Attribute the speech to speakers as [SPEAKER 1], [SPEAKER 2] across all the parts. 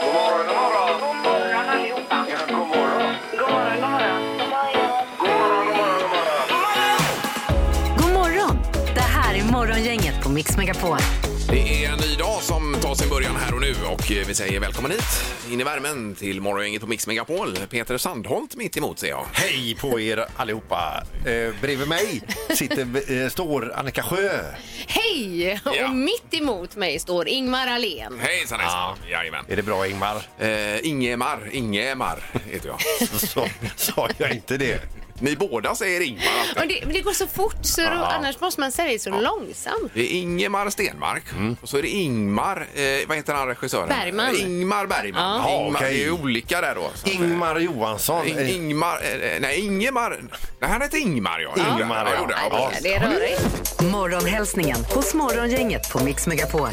[SPEAKER 1] God morgon, god morgon.
[SPEAKER 2] God morgon allihopa.
[SPEAKER 1] Ja, god morgon.
[SPEAKER 2] God morgon, god morgon.
[SPEAKER 1] God morgon, god morgon, god morgon.
[SPEAKER 3] God morgon! Det här är Morgongänget på Mix Megapol.
[SPEAKER 4] Det är en ny dag som tar sin början här och nu och eh, vi säger välkommen hit in i värmen till morgongänget på Mix Megapol. Peter Sandholt mitt emot ser jag.
[SPEAKER 5] Hej på er allihopa! Eh, bredvid mig sitter, eh, står Annika Sjö.
[SPEAKER 6] Hej!
[SPEAKER 4] Ja.
[SPEAKER 6] Och mitt emot mig står Ingmar Ahlén.
[SPEAKER 4] Hejsan hejsan! Jajamän.
[SPEAKER 5] Är det bra Ingmar?
[SPEAKER 4] Eh, Ingemar, Ingemar heter jag.
[SPEAKER 5] Så, sa jag inte det?
[SPEAKER 4] Ni båda säger Ingmar alltid.
[SPEAKER 6] Och det, det går så fort, så då, annars måste man säga det så långsamt.
[SPEAKER 4] Det är Ingemar Stenmark
[SPEAKER 5] Mm.
[SPEAKER 4] och så är det Ingmar, eh, vad heter han regissören?
[SPEAKER 6] Bergman.
[SPEAKER 4] Eh, Ingmar Bergman.
[SPEAKER 5] Ja.
[SPEAKER 4] Ingmar,
[SPEAKER 5] Okej.
[SPEAKER 4] Det är olika där då. Så att, eh,
[SPEAKER 5] Ingmar Johansson.
[SPEAKER 4] In,
[SPEAKER 5] Eh,
[SPEAKER 4] Ingmar, eh, nej Ingemar, nej han heter Ingmar ja.
[SPEAKER 5] Ingmar,
[SPEAKER 4] ja.
[SPEAKER 5] ja.
[SPEAKER 4] gjorde han.
[SPEAKER 6] Ja, det är rörigt.
[SPEAKER 3] Morgonhälsningen hos Morgongänget på Mix Megapol.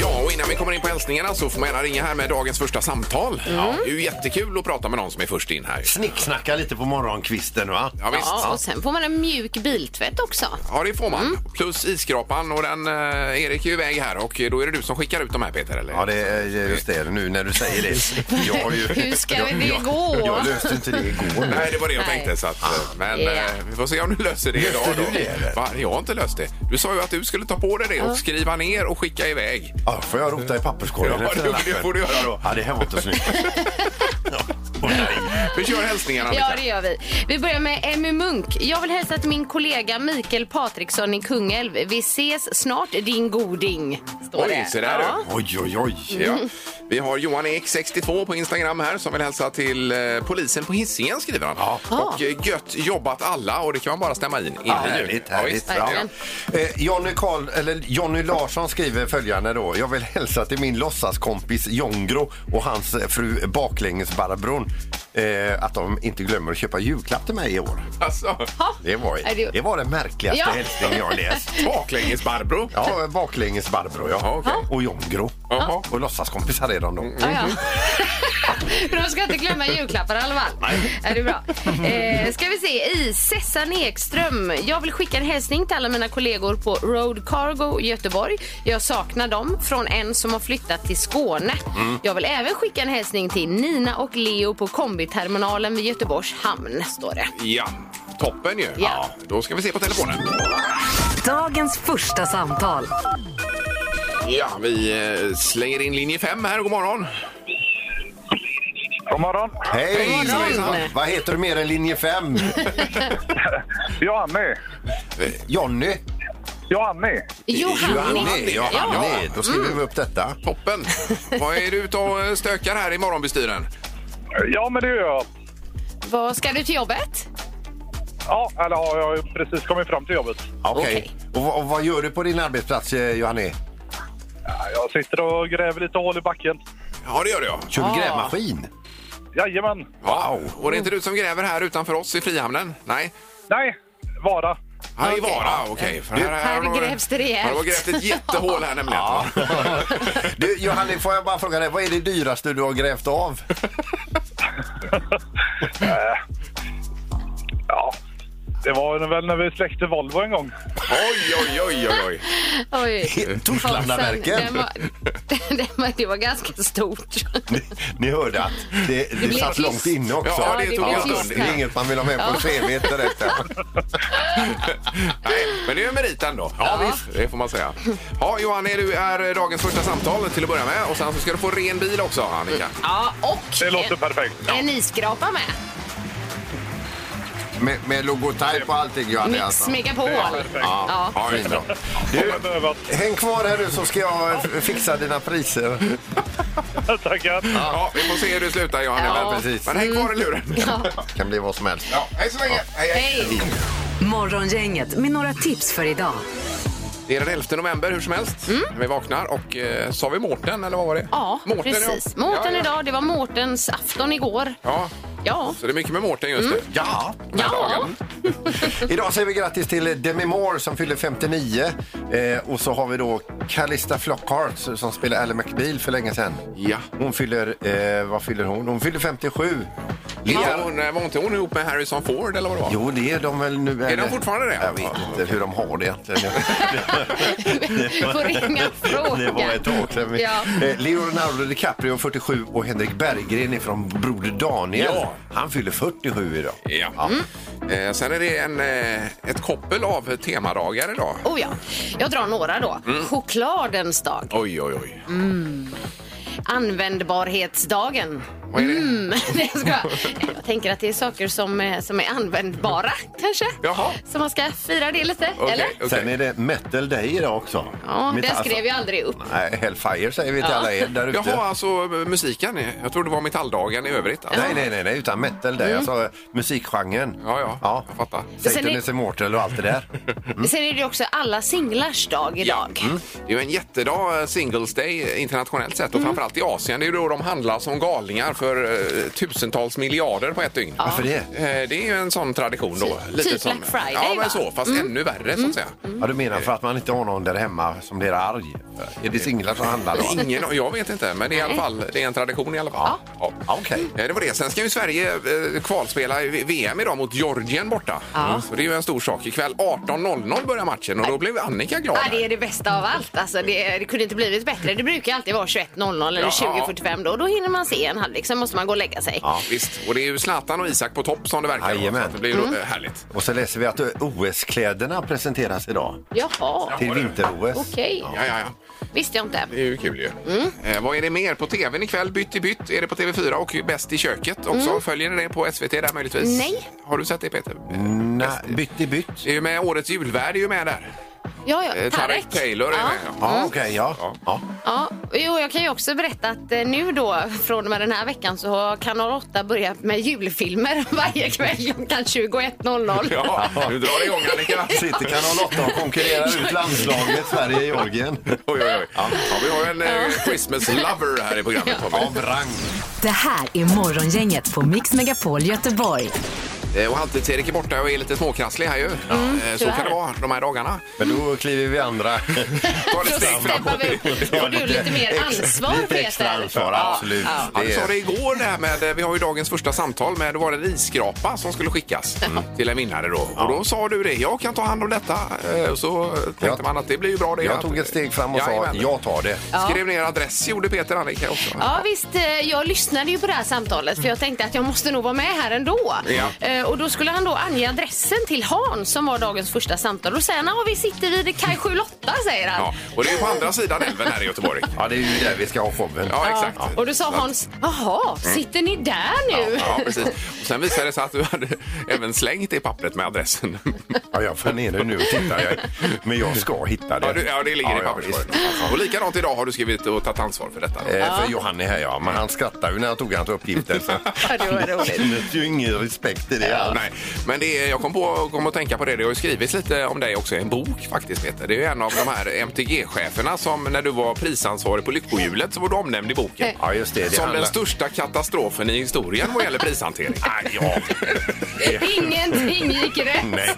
[SPEAKER 4] Ja, och innan vi kommer in på hälsningarna så får man gärna ringa här med dagens första samtal.
[SPEAKER 6] Mm.
[SPEAKER 4] Ja, det är ju jättekul att prata med någon som är först in här.
[SPEAKER 5] Snicksnacka lite på morgonkvisten va?
[SPEAKER 4] Ja, visst.
[SPEAKER 6] Ja,
[SPEAKER 4] Ja,
[SPEAKER 6] och Mm. sen får man en mjuk biltvätt också.
[SPEAKER 4] det får man. Plus isskrapan och den, eh, Erik är ju iväg här och då är det du som skickar ut de här Peter, eller?
[SPEAKER 5] Ja, det är eh, just det. Nu när du säger det. Jag har ju,
[SPEAKER 6] Hur ska
[SPEAKER 5] jag,
[SPEAKER 6] det
[SPEAKER 5] jag,
[SPEAKER 6] gå?
[SPEAKER 5] Jag löste inte det igår. nu.
[SPEAKER 4] Nej, det var det jag
[SPEAKER 6] Nej.
[SPEAKER 4] tänkte. Så att, eh, men
[SPEAKER 6] Ja.
[SPEAKER 4] eh, vi får se om du löser det idag.
[SPEAKER 5] Löste
[SPEAKER 4] Då.
[SPEAKER 5] du det, eller?
[SPEAKER 4] Va? Jag har inte löst det. Du sa ju att du skulle ta på dig det och skriva ner och skicka iväg.
[SPEAKER 5] Ja, får jag rota i papperskorgen
[SPEAKER 4] Ja,
[SPEAKER 5] efter
[SPEAKER 4] det-
[SPEAKER 5] den
[SPEAKER 4] det
[SPEAKER 5] lappen?
[SPEAKER 4] får du göra då.
[SPEAKER 5] Ja, det här var inte snyggt. Ja, åh, nej.
[SPEAKER 4] Vi kör hälsningarna, Annika.
[SPEAKER 6] Ja, det gör vi. Vi börjar med Emmy Munk. Jag vill hälsa till min kollega Mikael Patriksson i Kungälv. Vi ses snart, din goding. Står
[SPEAKER 4] Oj,
[SPEAKER 6] det.
[SPEAKER 4] se där
[SPEAKER 6] ja. Mm.
[SPEAKER 5] Oj, oj, oj.
[SPEAKER 4] Ja. Vi har Johan Ek, 62 på Instagram här som vill hälsa till eh, polisen på Hisingen skriver han. Och eh, gött jobbat alla och det kan man bara stämma in. in
[SPEAKER 5] Ja, härligt, härligt.
[SPEAKER 6] visst.
[SPEAKER 5] Ja.
[SPEAKER 6] Verkligen.
[SPEAKER 5] Eh, Jonny, Karl, eller Jonny Larsson skriver följande då. Jag vill hälsa till min låtsaskompis Jongro och hans fru Baklänges-Barbron eh, att de inte glömmer att köpa julklapp till mig i år.
[SPEAKER 4] Alltså,
[SPEAKER 5] Det var,
[SPEAKER 6] Är det-
[SPEAKER 5] det var den märkligaste
[SPEAKER 6] Ja.
[SPEAKER 5] hälsning jag läst.
[SPEAKER 4] baklänges Barbro.
[SPEAKER 5] Ja, Baklänges-Barbro ja.
[SPEAKER 4] Ja, okej.
[SPEAKER 5] Och Jongro.
[SPEAKER 4] Jaha.
[SPEAKER 5] Och låtsaskompisar är de då.
[SPEAKER 6] Ja, ja. De ska inte glömma julklappar i alla fall. Är det bra? Eh, ska vi se. I Sessan Ekström. Jag vill skicka en hälsning till alla mina kollegor på Road Cargo Göteborg. Jag saknar dem från en som har flyttat till Skåne. Jag vill även skicka en hälsning till Nina och Leo på kombiterminalen vid Göteborgs hamn. Står det.
[SPEAKER 4] Ja, toppen ju.
[SPEAKER 6] Ja.
[SPEAKER 4] Då ska vi se på telefonen.
[SPEAKER 3] Dagens första samtal.
[SPEAKER 4] Ja, vi eh, slänger in linje 5 här. God morgon.
[SPEAKER 7] God morgon.
[SPEAKER 5] Hej!
[SPEAKER 4] morgon.
[SPEAKER 5] Hejsan. Vad heter du mer än linje 5?
[SPEAKER 7] Johanny.
[SPEAKER 5] Jonny?
[SPEAKER 7] Johanny.
[SPEAKER 6] Johanni.
[SPEAKER 5] Ja,
[SPEAKER 4] Ja.
[SPEAKER 5] Hanni. Då skriver vi upp detta.
[SPEAKER 4] Toppen. Vad är du ute och eh, stökar här i morgonbestyren?
[SPEAKER 7] Ja, men det gör jag.
[SPEAKER 6] Vad ska du till jobbet?
[SPEAKER 7] Ja, eller ja, jag har ju precis kommit fram till jobbet.
[SPEAKER 5] Okej. Och, vad- och vad gör du på din arbetsplats, eh, Johanne?
[SPEAKER 7] Ja, Jag sitter och gräver lite hål i backen.
[SPEAKER 4] Ja, det gör du ja.
[SPEAKER 5] Kör
[SPEAKER 6] Ah.
[SPEAKER 5] du grävmaskin?
[SPEAKER 7] Jajamän.
[SPEAKER 4] Wow. Och det är inte du som gräver här utanför oss i Frihamnen? Nej.
[SPEAKER 7] Nej, Vara.
[SPEAKER 4] Här i Vara, okej. För
[SPEAKER 6] Här
[SPEAKER 4] har-
[SPEAKER 6] grävs det rejält.
[SPEAKER 4] Här har grävt ett jättehål här nämligen.
[SPEAKER 5] Du, Johanne, får jag bara fråga dig, vad är det dyraste du har grävt av?
[SPEAKER 7] Ja, det var väl när vi släckte Volvo en gång.
[SPEAKER 4] Oj, oj, oj, oj, oj.
[SPEAKER 6] Oj.
[SPEAKER 5] Torslandaverken.
[SPEAKER 6] Den var- den var- Det var ganska stort.
[SPEAKER 5] Ni, ni hörde att det, det,
[SPEAKER 6] blev
[SPEAKER 5] satt
[SPEAKER 6] tyst.
[SPEAKER 5] långt inne också.
[SPEAKER 4] Ja, det
[SPEAKER 6] det
[SPEAKER 4] tog
[SPEAKER 6] blev
[SPEAKER 4] en stund.
[SPEAKER 6] tyst
[SPEAKER 5] Det är
[SPEAKER 6] här.
[SPEAKER 5] inget man vill ha med på cv direkt.
[SPEAKER 4] Nej, men det är ju en merit ändå. Ja, visst. Det får man säga. Ja, Johan, är du är dagens första samtal till att börja med. Och sen så ska du få ren bil också, Annika.
[SPEAKER 6] Ja, och
[SPEAKER 7] Det låter perfekt.
[SPEAKER 6] en, en isskrapa med.
[SPEAKER 5] Med, med logotyp och allting, Johanne.
[SPEAKER 6] Mix
[SPEAKER 5] Alltså.
[SPEAKER 6] Megapol. Ja.
[SPEAKER 4] Ja, just det.
[SPEAKER 5] Du,
[SPEAKER 7] Kommer behövas.
[SPEAKER 5] häng kvar här nu så ska jag f- fixa dina priser.
[SPEAKER 7] Tackar.
[SPEAKER 4] Ja, vi får se hur det slutar, Johan.
[SPEAKER 6] Ja.
[SPEAKER 4] Men, precis. men häng kvar i luren.
[SPEAKER 5] kan bli vad som helst.
[SPEAKER 4] Ja, hej så länge. Hej, hej.
[SPEAKER 6] Hej!
[SPEAKER 3] Morgongänget med några tips för idag.
[SPEAKER 4] Det är den 11 november hur som helst. Vi vaknar och eh, sa vi Mårten eller vad var det?
[SPEAKER 6] Ja,
[SPEAKER 4] Mårten,
[SPEAKER 6] precis.
[SPEAKER 4] ja.
[SPEAKER 6] Mårten
[SPEAKER 4] ja, ja.
[SPEAKER 6] idag. Det var Mårtens afton igår.
[SPEAKER 4] Ja,
[SPEAKER 6] Ja.
[SPEAKER 4] så det är mycket med Mårten just nu.
[SPEAKER 5] Ja.
[SPEAKER 4] Den här
[SPEAKER 6] Ja.
[SPEAKER 4] dagen.
[SPEAKER 5] Idag säger vi grattis till Demi Moore som fyller 59 eh, och så har vi då Callista Flockhart som spelade Ally McBeal för länge sedan.
[SPEAKER 4] Ja.
[SPEAKER 5] Hon fyller, eh, vad fyller hon? Hon fyller 57.
[SPEAKER 4] Lilla, hon, var inte hon ihop med Harrison Ford eller vad det var?
[SPEAKER 5] Jo, det är de väl nu.
[SPEAKER 4] Är de fortfarande det?
[SPEAKER 5] Jag vet inte hur de har det egentligen.
[SPEAKER 6] Får ringa och fråga.
[SPEAKER 5] Det var ett tag sedan. vi-
[SPEAKER 6] Ja.
[SPEAKER 5] Eh, Leonardo DiCaprio, 47, och Henrik Berggren är från Broder Daniel.
[SPEAKER 4] Ja.
[SPEAKER 5] Han fyller 47 idag.
[SPEAKER 4] Ja. Eh, sen är det en, eh, ett koppel av temadagar idag.
[SPEAKER 6] Oh ja. Jag drar några då.
[SPEAKER 4] Mm.
[SPEAKER 6] Chokladens dag.
[SPEAKER 4] Oj, oj, oj.
[SPEAKER 6] Användbarhetsdagen.
[SPEAKER 4] Vad är det?
[SPEAKER 6] Mm, nej, jag, skojar. jag tänker att det är saker som, eh, som är användbara kanske.
[SPEAKER 4] Jaha.
[SPEAKER 6] Så man ska fira det lite,
[SPEAKER 4] Okej,
[SPEAKER 6] eller?
[SPEAKER 4] okej.
[SPEAKER 5] Sen är det Metal Day idag också.
[SPEAKER 6] Ja,
[SPEAKER 5] Metall-
[SPEAKER 6] den skrev jag aldrig upp.
[SPEAKER 5] Nej, Hellfire säger vi till alla er där ute.
[SPEAKER 4] Jaha, alltså musiken. Jag trodde det var metalldagen i övrigt. Alltså.
[SPEAKER 5] Nej, nej, nej, nej, utan metal där. Alltså musikgenren.
[SPEAKER 4] Ja, ja, jag fattar.
[SPEAKER 5] Satan
[SPEAKER 6] Sen är-
[SPEAKER 5] is immortal och allt det där.
[SPEAKER 4] Mm.
[SPEAKER 6] Sen är det ju också alla singlars dag idag.
[SPEAKER 4] Det är ju en jättedag, eh, Singles Day, internationellt sett och framförallt i Asien. Det är ju då de handlar som galningar för eh, tusentals miljarder på ett dygn.
[SPEAKER 5] Varför det?
[SPEAKER 4] Eh, Det är ju en sån tradition då.
[SPEAKER 6] Typ Black
[SPEAKER 4] som,
[SPEAKER 6] Friday,
[SPEAKER 4] Ja, men
[SPEAKER 6] va?
[SPEAKER 4] så. Fast ännu värre så att säga.
[SPEAKER 5] Ja, du menar för att man inte har någon där hemma som blir arg? Är det singlar som handlar då?
[SPEAKER 4] Ingen, jag vet inte, men det är, i alla fall, det är en tradition i alla fall. Ja.
[SPEAKER 5] Ja, Okej.
[SPEAKER 4] Eh, Det var det. Sen ska ju Sverige eh, kvalspela i VM idag mot Georgien borta. Mm,
[SPEAKER 6] Ja.
[SPEAKER 4] Så det är ju en stor sak. Ikväll 18.00 börjar matchen och då blev Annika glad.
[SPEAKER 6] Ja, det är det bästa av allt. Alltså, det, det kunde inte blivit bättre. Det brukar alltid vara 21.00 eller
[SPEAKER 4] Ja.
[SPEAKER 6] 20.45 då. Då hinner man se en halvlek, sen måste man gå och lägga sig.
[SPEAKER 4] Ja, visst. Och det är ju Zlatan och Isak på topp som det verkar. då,
[SPEAKER 5] Jajamän.
[SPEAKER 4] Så att det blir ju
[SPEAKER 6] Mm.
[SPEAKER 4] eh, härligt.
[SPEAKER 5] Och så läser vi att OS-kläderna presenteras idag
[SPEAKER 6] Jaha,
[SPEAKER 5] till vinter-OS.
[SPEAKER 6] okej.
[SPEAKER 4] Ja, ja, ja.
[SPEAKER 6] Visste jag inte.
[SPEAKER 4] Det är ju kul ju.
[SPEAKER 6] Mm.
[SPEAKER 4] Eh, vad är det mer på tvn ikväll? Bytt i bytt är det på TV4 och Bäst i köket också. Följer ni det på SVT där möjligtvis?
[SPEAKER 6] Mm. Nej.
[SPEAKER 4] Har du sett det Peter?
[SPEAKER 5] Nej, bytt i bytt.
[SPEAKER 4] Det är ju med årets julvärd är ju med där.
[SPEAKER 6] Ja, ja.
[SPEAKER 4] Eh, Tarek Taylor är
[SPEAKER 6] Ja.
[SPEAKER 4] med. Ja.
[SPEAKER 5] Ja, okej, ja. ja.
[SPEAKER 6] Ja, jo, jag kan ju också berätta att eh, nu då från och med den här veckan så har Kanal 8 börjat med julfilmer varje kväll klockan 21.00.
[SPEAKER 4] Ja, nu drar det igång Annika.
[SPEAKER 5] Sitter Kanal 8 och konkurrerar ut landslaget Sverige-Georgien.
[SPEAKER 4] Oj, oj, oj. Ja, vi har en eh, Christmas lover här i programmet. Tommy.
[SPEAKER 5] Av rang.
[SPEAKER 3] Det här är Morgongänget på Mix Megapol Göteborg.
[SPEAKER 4] Eh, Och halvtids-Erik är borta och är lite småkrasslig här ju. Eh, så
[SPEAKER 6] tyvärr.
[SPEAKER 4] kan det vara de här dagarna.
[SPEAKER 5] Men då kliver vi andra.
[SPEAKER 4] Ta det
[SPEAKER 6] Då
[SPEAKER 4] ett steg
[SPEAKER 6] steppar
[SPEAKER 4] framåt.
[SPEAKER 6] vi upp. Får du lite mer ansvar,
[SPEAKER 5] Lite extra
[SPEAKER 6] Peter?
[SPEAKER 5] ansvar, absolut.
[SPEAKER 6] Ja,
[SPEAKER 4] Ja,
[SPEAKER 5] Det
[SPEAKER 4] du sa
[SPEAKER 5] är-
[SPEAKER 4] det igår det här med, eh, vi har ju dagens första samtal med, då var det en isskrapa som skulle skickas till en vinnare då. Och då sa du det, jag kan ta hand om detta. Eh, Och så tänkte
[SPEAKER 5] Jag-
[SPEAKER 4] man att det blir ju bra det.
[SPEAKER 5] Jag tog ett steg fram och sa
[SPEAKER 4] Jajamän.
[SPEAKER 5] jag tar det.
[SPEAKER 6] Ja.
[SPEAKER 4] Skrev ner adress, gjorde Peter Annika också.
[SPEAKER 6] Ja visst, eh, jag lyssnade ju på det här samtalet för jag tänkte att jag måste nog vara med här ändå.
[SPEAKER 4] Ja.
[SPEAKER 6] Eh, Och då skulle han då ange adressen till Hans som var dagens första samtal och sen, ja vi sitter vid Kaj 78 säger han.
[SPEAKER 4] Ja, och det är ju på andra sidan älven här i Göteborg.
[SPEAKER 5] Ja, det är ju där vi ska ha showen.
[SPEAKER 4] Ja,
[SPEAKER 6] Ja.
[SPEAKER 4] exakt.
[SPEAKER 6] Och då sa Hans, jaha, sitter ni där nu?
[SPEAKER 4] Ja, precis. Och sen visade det sig att du hade även slängt det pappret med adressen.
[SPEAKER 5] Ja, jag får ner det nu och tittar. Jag, men jag ska hitta det.
[SPEAKER 4] Ja, du, ja det ligger i
[SPEAKER 5] ja,
[SPEAKER 4] papperskorgen.
[SPEAKER 5] visst.
[SPEAKER 4] och likadant idag har du skrivit och tagit ansvar för detta.
[SPEAKER 5] Eh, För Johan är här, ja. Men han skrattade ju när jag tog hans uppgifter. Så.
[SPEAKER 6] Ja, det var roligt.
[SPEAKER 5] Det finns ju ingen respekt i det alls.
[SPEAKER 4] Nej, men det är, jag kom på kom att tänka på det. Det har ju skrivits lite om dig också i en bok faktiskt Peter. Det är ju en av de här MTG-cheferna som när du var prisansvarig på Lyckohjulet så var du omnämnd i boken.
[SPEAKER 5] Ja, just det. det
[SPEAKER 4] Som
[SPEAKER 5] handlar-
[SPEAKER 4] den största katastrofen i historien vad gäller prishantering. Nej, ja. Mm.
[SPEAKER 6] Ingenting gick rätt.
[SPEAKER 5] Nej.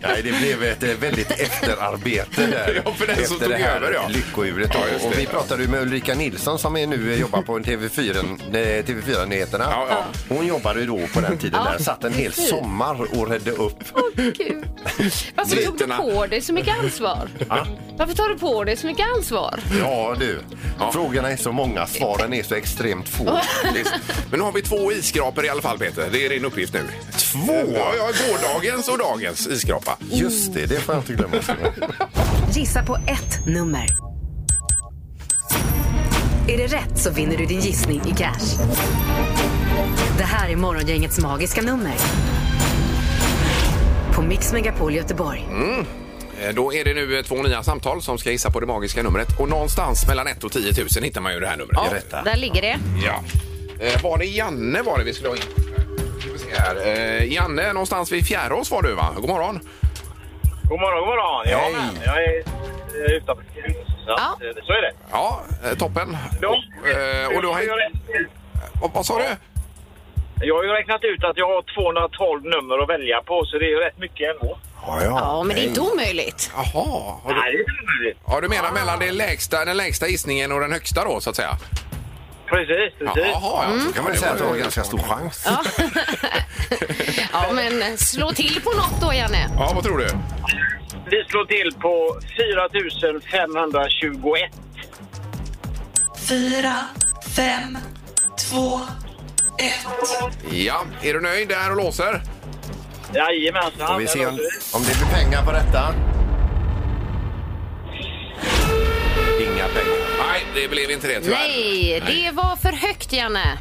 [SPEAKER 5] Nej, det blev ett eh, väldigt efterarbete där.
[SPEAKER 4] Ja, för den som
[SPEAKER 5] efter
[SPEAKER 4] tog
[SPEAKER 5] det här
[SPEAKER 4] över, ja.
[SPEAKER 5] lyckohjulet. då.
[SPEAKER 4] Ja, just det.
[SPEAKER 5] och vi pratade ju med Ulrika Nilsson som är nu eh, jobbar på en TV4, eh, TV4-nyheterna.
[SPEAKER 4] Ja, ja.
[SPEAKER 5] Hon jobbade ju då på den tiden där. Satt en hel sommar och redde upp.
[SPEAKER 6] Gud. Varför tog du
[SPEAKER 4] Myterna.
[SPEAKER 6] på dig så mycket ansvar?
[SPEAKER 5] Ja.
[SPEAKER 6] Varför tar du på dig så mycket ansvar?
[SPEAKER 5] Ja, du. Frågorna är så många, svaren är så extremt få.
[SPEAKER 4] Visst. Men nu har vi två iskrapor i alla fall Peter. Det är din uppgift nu.
[SPEAKER 5] Två?
[SPEAKER 4] Ja, ja, gårdagens och dagens iskrapa.
[SPEAKER 5] Just det, det får jag inte glömma.
[SPEAKER 3] Gissa på ett nummer. Är det rätt så vinner du din gissning i cash. Det här är Morgongängets magiska nummer. På Mix Megapol Göteborg.
[SPEAKER 4] Eh, Då är det nu eh, två nya samtal som ska gissa på det magiska numret. Och någonstans mellan 1 och 10 000 hittar man ju det här numret.
[SPEAKER 5] Det är rätta.
[SPEAKER 6] Där ligger det.
[SPEAKER 4] Ja. Eh, var det Janne var det vi skulle ha in? Ska vi se här. Eh, Janne, någonstans vid Fjärås var du va? God morgon.
[SPEAKER 7] God morgon, god morgon. Ja,
[SPEAKER 5] Hej.
[SPEAKER 7] men, jag är eh, utanför Skåne, så att, eh, så är det.
[SPEAKER 4] Ja, eh, toppen. Och, eh, och du har,
[SPEAKER 7] jag, har ju räknat-
[SPEAKER 4] vad, vad sa du?
[SPEAKER 7] jag har ju räknat ut att jag har 212 nummer att välja på, så det är ju rätt mycket ändå.
[SPEAKER 5] Ja,
[SPEAKER 6] Ja, men det är inte omöjligt.
[SPEAKER 4] Jaha. Har du,
[SPEAKER 7] Nej, det är inte möjligt.
[SPEAKER 4] ja, du menar mellan det lägsta, den lägsta gissningen och den högsta då så att säga?
[SPEAKER 7] Precis, precis.
[SPEAKER 4] Jaha, mm.
[SPEAKER 5] kan man säga att du har ganska stor chans.
[SPEAKER 6] Ja. ja, men eh, slå till på något då, Janne.
[SPEAKER 4] Ja, vad tror du?
[SPEAKER 7] Vi slår till på 4 521.
[SPEAKER 8] fyra, fem, två, ett.
[SPEAKER 4] Ja, är du nöjd där och låser?
[SPEAKER 7] Jajamensan.
[SPEAKER 5] Och vi ser om, om det blir pengar på detta. Inga pengar.
[SPEAKER 4] Nej, det blev inte det tyvärr.
[SPEAKER 6] Nej, det var för högt, Janne.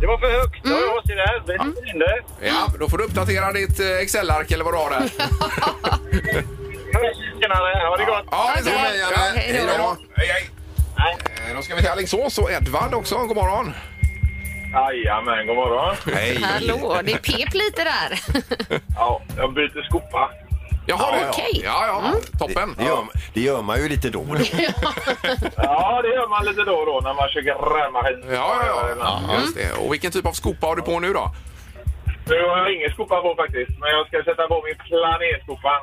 [SPEAKER 7] Det var för högt. Ja, jag ser det. Här. Det är lite inne.
[SPEAKER 4] Ja, då får du uppdatera ditt eh, Excel-ark eller vad du har där.
[SPEAKER 7] Hörs senare. Ha det gott.
[SPEAKER 4] Ja,
[SPEAKER 6] Okej.
[SPEAKER 4] detsamma, Janne.
[SPEAKER 6] Ja, hej då.
[SPEAKER 4] Hej, hej.
[SPEAKER 7] Nej.
[SPEAKER 4] Eh, Då ska vi till Alingsås och Edvard också. God morgon.
[SPEAKER 7] Jajamän, god morgon.
[SPEAKER 4] Hej.
[SPEAKER 6] Hallå, det pep lite där.
[SPEAKER 7] Ja, jag byter skopa.
[SPEAKER 4] Jaha, du.
[SPEAKER 6] Okej. Mm.
[SPEAKER 4] Ja, ja. Toppen.
[SPEAKER 5] Det gör, det gör man ju lite då och då.
[SPEAKER 7] Ja, det gör man lite då och då när man kör grävmaskin.
[SPEAKER 4] Ja, ja, ja. ja just det. Och vilken typ av skopa har du på nu då?
[SPEAKER 7] Nu har jag ingen skopa på faktiskt, men jag ska sätta på min planerskopan.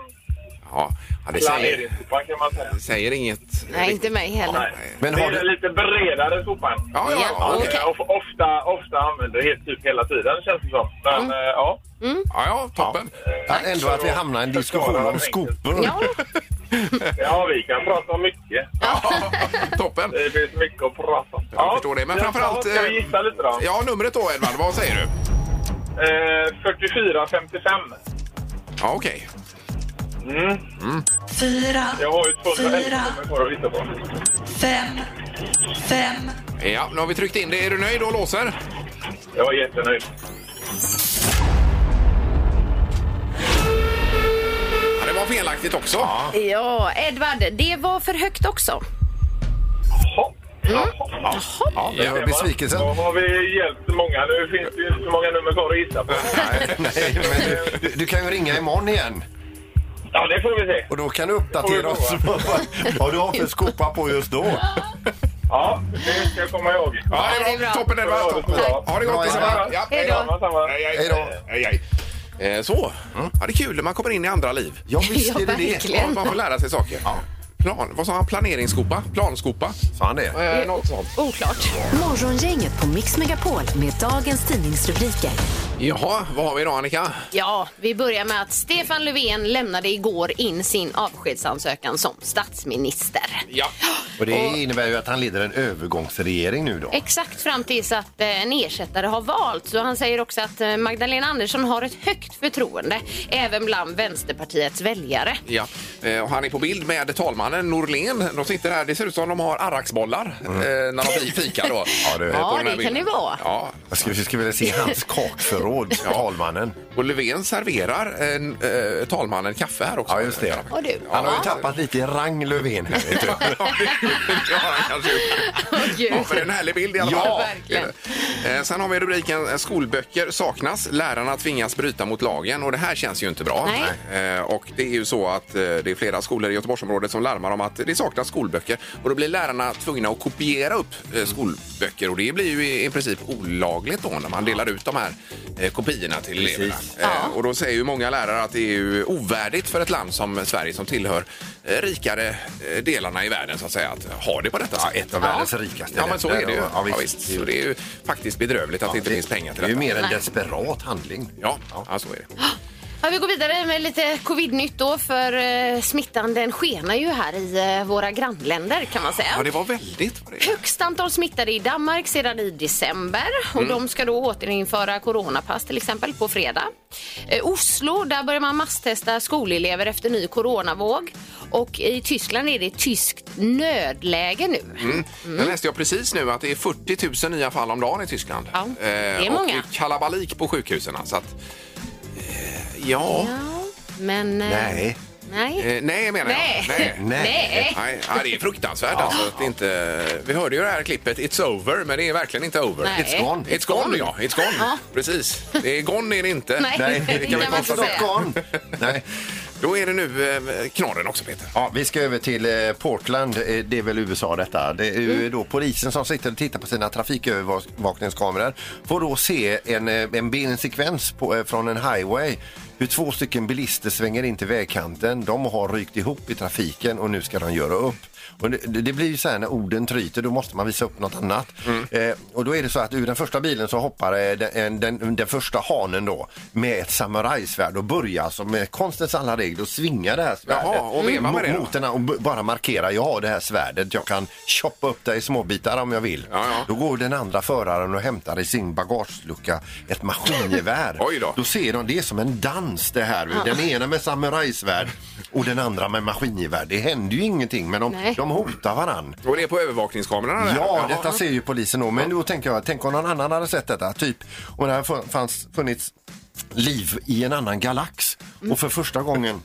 [SPEAKER 4] Ja, ja, det säger,
[SPEAKER 7] Planeringsskopan kan man säga.
[SPEAKER 4] säger inget.
[SPEAKER 6] Nej, inte mig heller.
[SPEAKER 7] Nej.
[SPEAKER 5] Men
[SPEAKER 7] det
[SPEAKER 5] har
[SPEAKER 7] är
[SPEAKER 5] du-
[SPEAKER 7] den lite bredare skopan.
[SPEAKER 4] Ja, ja,
[SPEAKER 6] Ja,
[SPEAKER 4] ja, okej.
[SPEAKER 6] okej.
[SPEAKER 7] Jag of- ofta, ofta använder helt typ hela tiden känns det som. Men
[SPEAKER 4] Mm.
[SPEAKER 7] eh, ja.
[SPEAKER 4] ja, ja toppen.
[SPEAKER 5] Ja, ändå att vi hamnar i en diskussion om skopor.
[SPEAKER 6] Ja,
[SPEAKER 7] ja, vi kan prata om mycket.
[SPEAKER 4] Ja, toppen.
[SPEAKER 7] Det finns mycket att prata om.
[SPEAKER 4] Jag förstår det, men
[SPEAKER 7] Ja,
[SPEAKER 4] framförallt,
[SPEAKER 7] Ska vi
[SPEAKER 4] eh,
[SPEAKER 7] gissa lite då?
[SPEAKER 4] Ja, numret då Edvard, vad säger du?
[SPEAKER 7] Eh, 44,55.
[SPEAKER 4] Ja, okej.
[SPEAKER 7] Mm.
[SPEAKER 8] Fyra,
[SPEAKER 7] Jag har ju
[SPEAKER 8] Fyra.
[SPEAKER 7] 211 som jag går att gissa på.
[SPEAKER 8] fem, fem.
[SPEAKER 4] Ja, nu har vi tryckt in det. Är du nöjd och låser?
[SPEAKER 7] Jag är jättenöjd.
[SPEAKER 4] Ja, det var felaktigt också. Ja,
[SPEAKER 6] ja Edvard, det var för högt också.
[SPEAKER 7] Hopp. Jaha.
[SPEAKER 5] Ja, det var besvikelsen.
[SPEAKER 7] Då har vi hjälpt många. Nu finns det ju inte så många nummer kvar att gissa på.
[SPEAKER 5] Nej, men du, du, du kan ju ringa imorgon igen
[SPEAKER 7] Ja, det får vi se.
[SPEAKER 5] och då kan du uppdatera oss vad vad du har för skopa på just då.
[SPEAKER 7] Ja, det ska jag komma ihåg.
[SPEAKER 4] det var
[SPEAKER 6] det är bra.
[SPEAKER 4] toppen Edvard. Toppen.
[SPEAKER 7] Tack.
[SPEAKER 4] Ha det gott
[SPEAKER 5] Bra,
[SPEAKER 4] detsamma.
[SPEAKER 5] Edvard.
[SPEAKER 4] Ja,
[SPEAKER 6] Hej då.
[SPEAKER 7] Samma, samma.
[SPEAKER 4] Hej, hej.
[SPEAKER 5] Hej då.
[SPEAKER 4] Hej, hej. Eh, Så. Ja, det är kul när man kommer in i andra liv.
[SPEAKER 5] Ja, visst
[SPEAKER 6] Ja,
[SPEAKER 5] är det det.
[SPEAKER 4] Ja,
[SPEAKER 6] verkligen.
[SPEAKER 4] man får lära sig saker. Plan, vad sa han? Planeringsskopa? Planskopa?
[SPEAKER 5] Sa han det?
[SPEAKER 4] Eh, något sånt.
[SPEAKER 6] Oklart.
[SPEAKER 3] Morgongänget på Mix Megapol med dagens tidningsrubriker.
[SPEAKER 4] Jaha, vad har vi idag Annika?
[SPEAKER 6] Ja, vi börjar med att Stefan Löfven lämnade igår in sin avskedsansökan som statsminister.
[SPEAKER 4] Ja.
[SPEAKER 5] Och det innebär ju att han leder en övergångsregering nu då.
[SPEAKER 6] Exakt fram tills att eh, en ersättare har valts. Och han säger också att eh, Magdalena Andersson har ett högt förtroende även bland Vänsterpartiets väljare.
[SPEAKER 4] Ja, eh, och han är på bild med talmannen Norlén. De sitter här, det ser ut som de har arraksbollar eh, när de fi- fikar då.
[SPEAKER 5] Ja, det-
[SPEAKER 4] Eh,
[SPEAKER 5] Ja,
[SPEAKER 4] på den här
[SPEAKER 6] det
[SPEAKER 4] bilden.
[SPEAKER 6] kan det vara.
[SPEAKER 4] Ja,
[SPEAKER 5] Jag skulle, jag skulle vilja se hans kakförråd, talmannen.
[SPEAKER 4] och Löfven serverar eh, n- eh, talmannen kaffe här också.
[SPEAKER 5] Ja, just det.
[SPEAKER 6] Och du?
[SPEAKER 5] Han har ju tappat lite i rang Löfven här. vet du.
[SPEAKER 4] Ja, det har han kanske gjort.
[SPEAKER 6] Gud.
[SPEAKER 4] Ja, för det är en härlig bild i alla
[SPEAKER 5] Ja,
[SPEAKER 4] fall.
[SPEAKER 6] verkligen.
[SPEAKER 4] Eh, Sen har vi rubriken eh, Skolböcker saknas. Lärarna tvingas bryta mot lagen och det här känns ju inte bra. Eh, Och det är ju så att eh, det är flera skolor i Göteborgsområdet som larmar om att det saknas skolböcker och då blir lärarna tvungna att kopiera upp eh, skolböcker och det blir ju i i princip olagligt då när man delar ut de här eh, kopiorna till eleverna. Eh, Och då säger ju många lärare att det är ju ovärdigt för ett land som Sverige som tillhör eh, rikare eh, delarna i världen så att säga att ha det på detta sätt.
[SPEAKER 5] Ett av världens rikaste
[SPEAKER 4] Ja, men så
[SPEAKER 5] länder.
[SPEAKER 4] är det ju.
[SPEAKER 5] Ja,
[SPEAKER 4] Ja,
[SPEAKER 5] visst.
[SPEAKER 4] visst. Så det är ju faktiskt bedrövligt att det inte finns pengar till
[SPEAKER 5] Det är ju
[SPEAKER 4] detta.
[SPEAKER 5] mer en desperat handling.
[SPEAKER 4] Ja, ja, så är det.
[SPEAKER 6] Ja, vi går vidare med lite covid-nytt då för eh, smittan den skenar ju här i eh, våra grannländer kan man säga.
[SPEAKER 4] Ja, det var väldigt vad det är.
[SPEAKER 6] Högst antal smittade i Danmark sedan i december och de ska då återinföra coronapass till exempel på fredag. Eh, Oslo, där börjar man masstesta skolelever efter ny coronavåg och i Tyskland är det tyskt nödläge nu.
[SPEAKER 5] Mm.
[SPEAKER 4] Sen läste Mm. jag precis nu att det är 40 000 nya fall om dagen i Tyskland.
[SPEAKER 6] Ja, det är
[SPEAKER 4] Eh, Och
[SPEAKER 6] många.
[SPEAKER 4] det är kalabalik på sjukhusen. Så att, eh, ja,
[SPEAKER 6] Ja, men... eh,
[SPEAKER 5] Nej.
[SPEAKER 6] Nej.
[SPEAKER 4] Eh, nej menar
[SPEAKER 6] Nej.
[SPEAKER 4] jag. Nej.
[SPEAKER 5] Nej.
[SPEAKER 6] Nej.
[SPEAKER 4] Nej, ja, det är fruktansvärt alltså att det inte... Vi hörde ju det här klippet It's over, men det är verkligen inte over.
[SPEAKER 6] Nej.
[SPEAKER 5] It's gone.
[SPEAKER 4] It's gone, ja. It's gone.
[SPEAKER 6] Ja.
[SPEAKER 4] Precis. Det är gone är det inte.
[SPEAKER 6] Nej.
[SPEAKER 5] Nej,
[SPEAKER 6] Det kan
[SPEAKER 4] vi
[SPEAKER 5] man inte
[SPEAKER 4] konstatera.
[SPEAKER 5] gone. Nej.
[SPEAKER 4] Då är det nu eh, knorren också, Peter.
[SPEAKER 5] Ja, vi ska över till eh, Portland. Eh, Det är väl USA detta. Det är ju då polisen som sitter och tittar på sina trafikövervakningskameror. Får då se en, eh, en bildsekvens på, eh, från en highway. Hur två stycken bilister svänger in till vägkanten. De har rykt ihop i trafiken och nu ska de göra upp. Och det, det blir ju så här när orden tryter, då måste man visa upp något annat. Eh, och då är det så att ur den första bilen så hoppar eh, den, en- den, den första hanen då med ett samurajsvärd och börjar alltså med konstens alla regler och svinga det här svärdet
[SPEAKER 4] Jaha, och veva med
[SPEAKER 5] mot-
[SPEAKER 4] det då?
[SPEAKER 5] mot den här och b- bara markera, jag har det här svärdet, jag kan choppa upp det i små bitar om jag vill.
[SPEAKER 4] Ja, ja.
[SPEAKER 5] Då går den andra föraren och hämtar i sin bagagelucka ett maskingevär.
[SPEAKER 4] Oj då.
[SPEAKER 5] då ser de, det är som en dans det här. Den ena med samurajsvärd och den andra med maskingevär. Det händer ju ingenting men de,
[SPEAKER 6] Nej.
[SPEAKER 5] de hotar varann.
[SPEAKER 4] Och det är på övervakningskamerorna? det här?
[SPEAKER 5] Ja,
[SPEAKER 4] Jaha.
[SPEAKER 5] detta ser ju polisen då. Men då tänker jag, tänk om någon annan hade sett detta. Typ om det hade fun- fanns, funnits liv i en annan galax. Och för första gången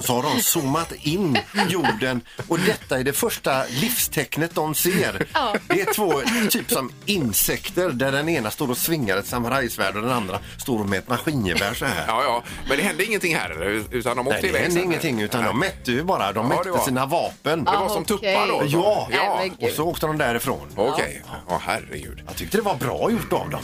[SPEAKER 5] så har de zoomat in jorden och detta är det första livstecknet de ser.
[SPEAKER 6] Ja.
[SPEAKER 5] Det är två, typ som insekter där den ena står och svingar ett samurajsvärd och den andra står med ett maskingevär så här.
[SPEAKER 4] Ja, ja. Men det hände ingenting här eller? Utan de åkte
[SPEAKER 5] Nej, det
[SPEAKER 4] iväg
[SPEAKER 5] hände
[SPEAKER 4] sen.
[SPEAKER 5] ingenting utan de mätte ju bara, de
[SPEAKER 4] Ja,
[SPEAKER 5] mätte
[SPEAKER 4] det var-
[SPEAKER 5] sina vapen.
[SPEAKER 4] Det var som
[SPEAKER 6] Okej.
[SPEAKER 4] tuppar då? alltså.
[SPEAKER 5] Ja,
[SPEAKER 6] Nej,
[SPEAKER 4] ja.
[SPEAKER 6] men gud.
[SPEAKER 5] Och så åkte de därifrån.
[SPEAKER 4] Okej. Ja, herregud.
[SPEAKER 5] Jag tyckte det var bra gjort av dem.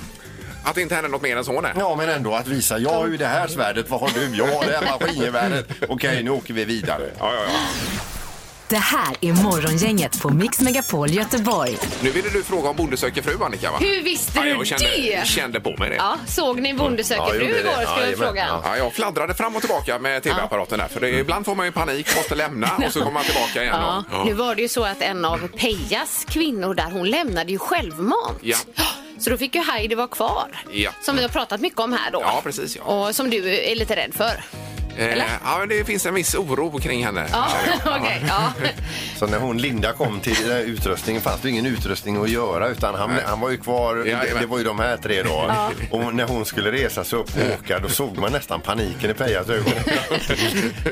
[SPEAKER 4] Att det inte hände något mer än så, nej.
[SPEAKER 5] Ja, men ändå att visa. Jag har ju det här svärdet. Vad har du? Jag har det här maskingeväret. Okej, nu åker vi vidare.
[SPEAKER 4] Ja, ja, ja.
[SPEAKER 3] Det här är Morgongänget på Mix Megapol Göteborg.
[SPEAKER 4] Nu ville du fråga om Bonde söker fru, Annika, va?
[SPEAKER 6] Hur visste
[SPEAKER 4] Ja,
[SPEAKER 6] du
[SPEAKER 4] jag kände,
[SPEAKER 6] det?
[SPEAKER 4] kände på mig det. Ja.
[SPEAKER 6] Ja, såg ni Bonde
[SPEAKER 5] Ja,
[SPEAKER 6] söker
[SPEAKER 5] jag
[SPEAKER 6] fru
[SPEAKER 5] gjorde det.
[SPEAKER 6] igår skulle jag
[SPEAKER 5] Jajamän,
[SPEAKER 6] fråga.
[SPEAKER 5] ja.
[SPEAKER 4] jag fladdrade fram och tillbaka med tv-apparaten där. För det, ibland får man ju panik, måste lämna och så kommer man tillbaka igen.
[SPEAKER 6] Ja.
[SPEAKER 4] då.
[SPEAKER 6] Nu var det ju så att en av Pejas kvinnor där, hon lämnade ju självmant.
[SPEAKER 4] Ja.
[SPEAKER 6] Så då fick ju Heidi vara kvar,
[SPEAKER 4] Ja.
[SPEAKER 6] som vi har pratat mycket om här då.
[SPEAKER 4] Ja, precis, ja.
[SPEAKER 6] Och som du är lite rädd för.
[SPEAKER 4] Eh, ja, men det finns en viss oro kring henne.
[SPEAKER 6] Ja, okej. ja.
[SPEAKER 5] Så när hon Linda kom till eh, utrustningen fanns det ingen utrustning att göra utan han, han var ju kvar. Det,
[SPEAKER 4] Jajamän.
[SPEAKER 5] det var ju de här tre då. Och när hon skulle resa sig upp och åka då såg man nästan paniken i Pejas ögon.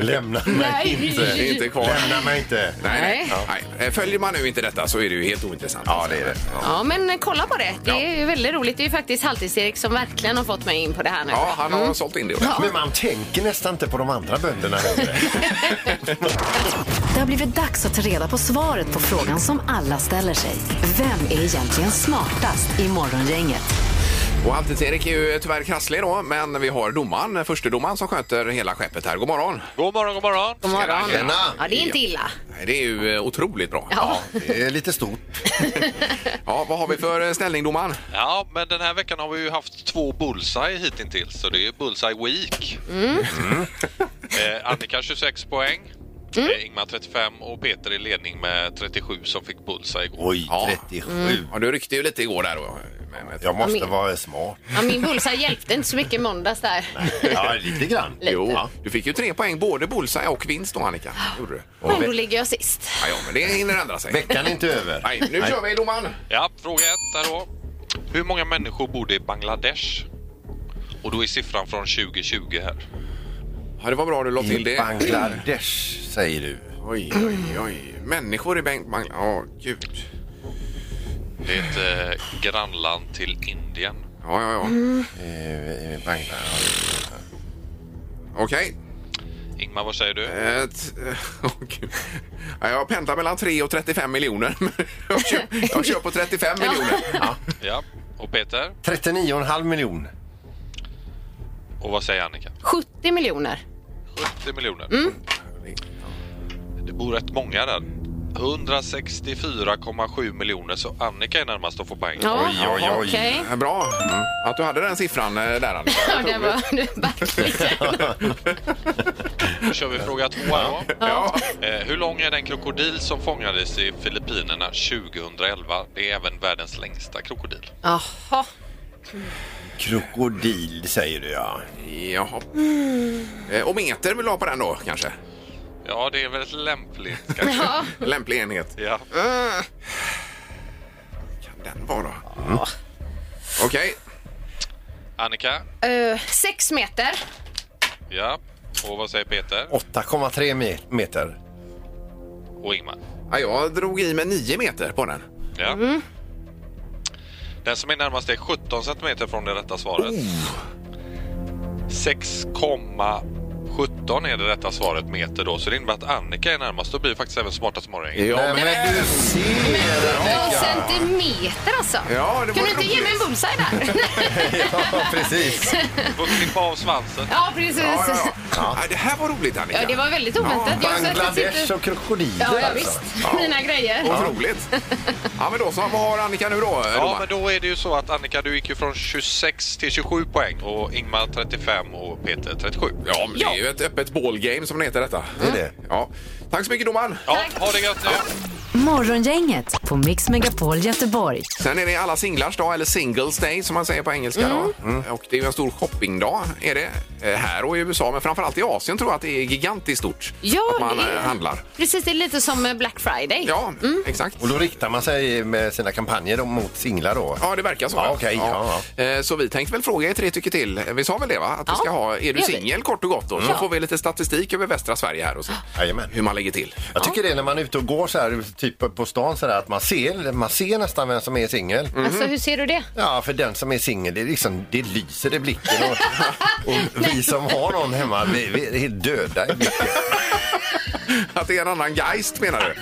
[SPEAKER 5] Lämna mig
[SPEAKER 6] Nej.
[SPEAKER 5] inte.
[SPEAKER 4] Det är inte kvar.
[SPEAKER 5] Lämna mig inte.
[SPEAKER 4] Nej, nej.
[SPEAKER 5] Ja.
[SPEAKER 4] nej. Eh, Följer man nu inte detta så är det ju helt ointressant.
[SPEAKER 5] Ja, det är det.
[SPEAKER 4] Ja.
[SPEAKER 6] ja, men kolla på det. Det
[SPEAKER 4] Ja.
[SPEAKER 6] är ju väldigt roligt. Det är ju faktiskt Haltis-Erik som verkligen har fått mig in på det här nu.
[SPEAKER 4] Ja, han har sålt in det.
[SPEAKER 5] Men man tänker nästan inte på de andra bönderna längre.
[SPEAKER 3] Det har blivit dags att ta reda på svaret på frågan som alla ställer sig. Vem är egentligen smartast i Morgongänget?
[SPEAKER 4] Och Halvtids-Erik är ju tyvärr krasslig då, men vi har domaren, förstedomaren som sköter hela skeppet här. God morgon!
[SPEAKER 7] God morgon, god morgon.
[SPEAKER 6] God morgon.
[SPEAKER 5] Tjena.
[SPEAKER 6] Ja, det är inte illa.
[SPEAKER 4] Nej, Det är ju eh, otroligt bra.
[SPEAKER 6] Ja.
[SPEAKER 5] Det är lite stort.
[SPEAKER 4] Ja, vad har vi för eh, ställning domaren?
[SPEAKER 9] Ja, men den här veckan har vi ju haft två bullseye hittills, så det är bullseye week. Mm. Eh, Annika 26 poäng, eh, Ingmar 35 och Peter i ledning med 37 som fick bullseye igår.
[SPEAKER 5] Oj,
[SPEAKER 4] Ja.
[SPEAKER 5] 37.
[SPEAKER 4] Ja, du ryckte ju lite igår där då. Med, med,
[SPEAKER 5] Mm. Jag måste vara smart.
[SPEAKER 6] Ja, min bullseye hjälpte inte så mycket i måndags där.
[SPEAKER 5] Ja, lite grann.
[SPEAKER 4] Jo, du fick ju tre poäng, både bullseye och vinst då Annika. Gjorde du?
[SPEAKER 6] Men då ligger jag sist.
[SPEAKER 4] Ja, ja, men det hinner ändra sig.
[SPEAKER 5] Veckan är inte över.
[SPEAKER 4] Nej, nu kör vi domaren!
[SPEAKER 9] Ja, fråga ett där då. Hur många människor bor det i Bangladesh? Och då är siffran från 2020 här.
[SPEAKER 4] Ja, det var bra du la till
[SPEAKER 5] I
[SPEAKER 4] det.
[SPEAKER 5] Bangladesh säger du.
[SPEAKER 4] Oj, oj, oj. Människor i Bengt... Bang- Ja, gud.
[SPEAKER 9] Det är ett eh, grannland till Indien.
[SPEAKER 4] Ja, ja, ja.
[SPEAKER 6] Mm.
[SPEAKER 5] Eh, eh, Bangladesh.
[SPEAKER 4] Okej.
[SPEAKER 9] Ingmar, vad säger du?
[SPEAKER 4] Ett- eh, Åh, gud. Ja, jag pendlar mellan 3 och 35 miljoner. men jag, kör, jag kör på 35 miljoner. Ja.
[SPEAKER 9] Ja. Och Peter?
[SPEAKER 5] 39,5 miljon.
[SPEAKER 9] Och vad säger Annika?
[SPEAKER 6] 70 miljoner.
[SPEAKER 9] 70 miljoner. Det bor rätt många där. 164,7 miljoner, så Annika är närmast att få poäng.
[SPEAKER 6] Ja,
[SPEAKER 5] Oj, oj, oj.
[SPEAKER 6] okej.
[SPEAKER 4] Bra Mm. att du hade den siffran eh, där, Annika.
[SPEAKER 6] Ja, det var det verkligen.
[SPEAKER 9] Då kör vi fråga två. här då.
[SPEAKER 4] Ja.
[SPEAKER 9] Eh, hur lång är den krokodil som fångades i Filippinerna 2011? Det är även världens längsta krokodil.
[SPEAKER 6] Jaha.
[SPEAKER 5] Krokodil säger du ja.
[SPEAKER 4] Jaha. Eh, Och meter vill du ha på den då, kanske?
[SPEAKER 9] Ja, det är väl lämpligt kanske.
[SPEAKER 6] Ja.
[SPEAKER 4] Lämplig enhet. Eh.
[SPEAKER 9] Ja.
[SPEAKER 4] Kan den vara då?
[SPEAKER 5] Mm.
[SPEAKER 4] Okej.
[SPEAKER 9] Annika?
[SPEAKER 6] Eh, sex meter.
[SPEAKER 9] Ja. Och vad säger Peter?
[SPEAKER 5] 8,3 me- meter.
[SPEAKER 9] Och Ingmar?
[SPEAKER 4] Ja, jag drog i med 9 meter på den.
[SPEAKER 9] Ja. Den som är närmast är Oh. 17 centimeter från det rätta svaret. 6,7 17 är det rätta svaret meter då, så det innebär att Annika är närmast. Då blir det faktiskt även smartast morgon.
[SPEAKER 5] Nej,
[SPEAKER 4] Eh,
[SPEAKER 5] men du ser!
[SPEAKER 6] Två centimeter alltså.
[SPEAKER 4] Ja, det
[SPEAKER 6] kan du
[SPEAKER 4] var
[SPEAKER 6] inte ge mig en bullseye där?
[SPEAKER 5] Ja, precis.
[SPEAKER 9] Du får klippa av svansen.
[SPEAKER 6] ja, precis.
[SPEAKER 4] Ja,
[SPEAKER 6] Ja,
[SPEAKER 4] ja, ja. Ja, Det här var roligt, Annika.
[SPEAKER 6] det var väldigt oväntat. Jag satt och
[SPEAKER 5] Bangladesh
[SPEAKER 6] tittade-
[SPEAKER 5] och krokodiler
[SPEAKER 6] Ja, ja
[SPEAKER 5] alltså.
[SPEAKER 6] visst. Mina grejer.
[SPEAKER 4] Otroligt. Ja, men då så. Vad har Annika nu då?
[SPEAKER 9] Ja,
[SPEAKER 4] domaren?
[SPEAKER 9] men då är det ju så att Annika, du gick ju från 26 till 27 poäng och Ingmar 35 och Peter 37.
[SPEAKER 4] Ja, men det är ju ett öppet ballgame som det heter detta.
[SPEAKER 5] Det är det.
[SPEAKER 4] Ja. Tack så mycket domaren.
[SPEAKER 9] Ja, ha det gött nu!
[SPEAKER 3] Morgongänget på Mix Megapol Göteborg.
[SPEAKER 4] Sen är det alla singlars dag, eller singles day som man säger på engelska. Då. Mm. Och det är ju en stor shoppingdag är det, eh, här och i USA, men framförallt i Asien tror jag att det är gigantiskt stort.
[SPEAKER 6] Ja,
[SPEAKER 4] att man
[SPEAKER 6] det är-
[SPEAKER 4] eh, handlar.
[SPEAKER 6] Precis, det är lite som eh, Black Friday.
[SPEAKER 4] Ja, exakt.
[SPEAKER 5] Och då riktar man sig med sina kampanjer då mot singlar då?
[SPEAKER 4] Ja, det verkar så.
[SPEAKER 5] Ja, okej, ja,
[SPEAKER 4] Eh, Så vi tänkte väl fråga er tre tycker till. Vi sa väl det, va? Att vi
[SPEAKER 6] Ja,
[SPEAKER 4] ska ha, är du
[SPEAKER 6] gör vi.
[SPEAKER 4] singel kort och gott då? Så
[SPEAKER 6] Ja.
[SPEAKER 4] får vi lite statistik över västra Sverige här och så.
[SPEAKER 5] Jajamän.
[SPEAKER 4] Hur man lägger till.
[SPEAKER 5] Jag tycker det är när man är ute och går så här, typ på stan så där, att man ser, man ser nästan vem som är singel.
[SPEAKER 4] Mhm.
[SPEAKER 6] Alltså, hur ser du det?
[SPEAKER 5] Ja, för den som är singel, det, är liksom, det lyser i blicken. Och, och vi som har någon hemma, vi, vi är helt döda i blicken.
[SPEAKER 4] Att det är en annan geist menar du?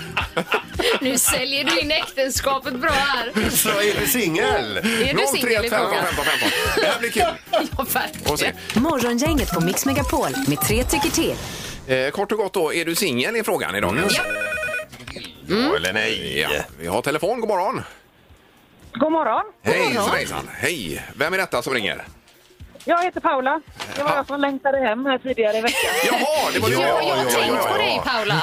[SPEAKER 6] Nu säljer du in äktenskapet bra här.
[SPEAKER 5] Så är du singel?
[SPEAKER 6] Är du singel i
[SPEAKER 4] 15,
[SPEAKER 6] frågan?
[SPEAKER 4] 15, 15. Det här blir kul
[SPEAKER 6] Ja,
[SPEAKER 4] att se.
[SPEAKER 6] verkligen.
[SPEAKER 3] Morgongänget på Mix Megapol med tre tycker till.
[SPEAKER 4] Eh, kort och gott då, är du singel i frågan idag?
[SPEAKER 5] Mm.
[SPEAKER 4] Ja.
[SPEAKER 5] Ja eller nej?
[SPEAKER 4] ja. Vi har telefon, god morgon.
[SPEAKER 2] God morgon.
[SPEAKER 4] Hej hejsan. Hej, vem är detta som ringer?
[SPEAKER 2] Jag heter Paula. Det var jag som längtade hem här tidigare i veckan.
[SPEAKER 4] Jaha, det var du.
[SPEAKER 5] Ja,
[SPEAKER 6] Ja,
[SPEAKER 4] Ja,
[SPEAKER 6] jag har
[SPEAKER 5] ja,
[SPEAKER 6] tänkt
[SPEAKER 5] ja,
[SPEAKER 6] på
[SPEAKER 5] ja.
[SPEAKER 6] dig, Paula.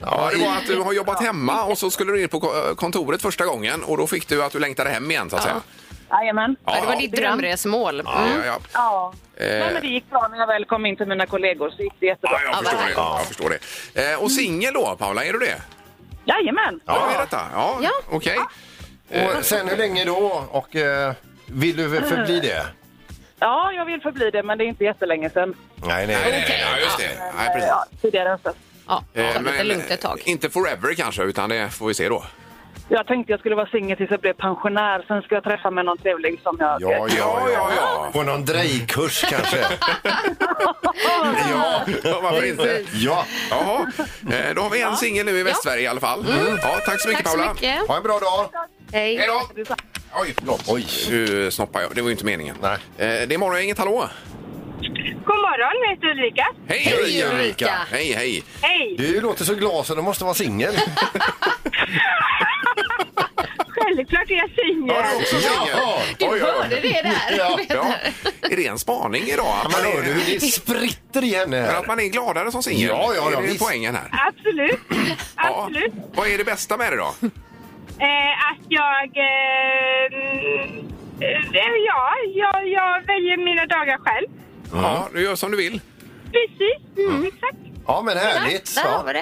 [SPEAKER 4] Ja, det var att du har jobbat hemma och så skulle du in på ko- eh, kontoret första gången och då fick du att du längtade hem igen så att säga.
[SPEAKER 2] Jajamän.
[SPEAKER 6] Ja, det var ditt drömresmål.
[SPEAKER 4] Ja,
[SPEAKER 6] Mm.
[SPEAKER 4] ja, ja.
[SPEAKER 2] Ja.
[SPEAKER 4] Eh.
[SPEAKER 2] Nej, men det gick bra när jag väl kom in till mina kollegor så gick det jättebra.
[SPEAKER 4] Ja, jag
[SPEAKER 6] vad
[SPEAKER 4] förstår det.
[SPEAKER 6] härligt.
[SPEAKER 4] Ja, jag förstår det. Eh, och singel då, Paula, är du det?
[SPEAKER 2] Jajamän.
[SPEAKER 4] Ja. Är detta? Ja,
[SPEAKER 6] Ja.
[SPEAKER 4] okej.
[SPEAKER 5] Och sen hur länge då? Och eh, vill du förbli det?
[SPEAKER 2] Ja, jag vill förbli det men det är inte jättelänge sedan.
[SPEAKER 5] Nej, nej,
[SPEAKER 4] Eh,
[SPEAKER 5] nej.
[SPEAKER 4] Ja, just det. Nej,
[SPEAKER 2] Eh,
[SPEAKER 4] precis.
[SPEAKER 2] Ja, tidigare än så.
[SPEAKER 6] Ja,
[SPEAKER 4] Eh,
[SPEAKER 6] ta lite
[SPEAKER 4] men,
[SPEAKER 6] lugnt ett tag.
[SPEAKER 4] Inte forever kanske, utan det får vi se då.
[SPEAKER 2] Jag tänkte jag skulle vara singel tills jag blev pensionär. Sen ska jag träffa med någon trevlig som jag...
[SPEAKER 5] Ja, ja, ja,
[SPEAKER 4] ja.
[SPEAKER 5] ja. På någon drejkurs kanske?
[SPEAKER 4] Ja, varför inte?
[SPEAKER 5] Ja.
[SPEAKER 4] Jaha, eh, då har vi en singel nu i Västsverige i alla fall. Ja, tack så
[SPEAKER 6] Mm.
[SPEAKER 4] mycket
[SPEAKER 6] Tack så
[SPEAKER 4] Paula.
[SPEAKER 6] mycket.
[SPEAKER 5] Ha en bra dag.
[SPEAKER 4] Hej
[SPEAKER 6] Hej.
[SPEAKER 4] då! Oj, förlåt.
[SPEAKER 5] Oj.
[SPEAKER 4] Nu snoppar jag. Det var ju inte meningen.
[SPEAKER 5] Nej.
[SPEAKER 4] Eh, det är Morgongänget, hallå!
[SPEAKER 2] God morgon, jag heter Ulrika.
[SPEAKER 4] Hej,
[SPEAKER 5] Hej,
[SPEAKER 4] Ulrika.
[SPEAKER 5] Ulrika.
[SPEAKER 4] Hej, hej!
[SPEAKER 2] Hej!
[SPEAKER 5] Du låter så glad så du måste vara singel.
[SPEAKER 2] Självklart är jag
[SPEAKER 4] Var
[SPEAKER 2] singel.
[SPEAKER 4] du också singel?
[SPEAKER 5] Ja.
[SPEAKER 6] Du
[SPEAKER 4] Oj, oj, oj.
[SPEAKER 6] hörde det där.
[SPEAKER 5] Ja.
[SPEAKER 4] Ja. Är det en spaning idag? Att man,
[SPEAKER 5] Men hör
[SPEAKER 4] är,
[SPEAKER 5] du, det spritter i henne
[SPEAKER 4] men att
[SPEAKER 5] här.
[SPEAKER 4] man är gladare som singel?
[SPEAKER 5] Ja, ja, ja,
[SPEAKER 4] Är det
[SPEAKER 5] visst.
[SPEAKER 4] poängen här?
[SPEAKER 2] Absolut.
[SPEAKER 4] Ja. Vad är det bästa med det då?
[SPEAKER 5] Mm.
[SPEAKER 2] Eh, att jag... Eh, mm, eh, ja, jag, jag väljer mina dagar själv.
[SPEAKER 4] Ja, du gör som du vill.
[SPEAKER 2] Precis,
[SPEAKER 10] Mm.
[SPEAKER 2] exakt.
[SPEAKER 5] Ja, men härligt.
[SPEAKER 6] Där har vi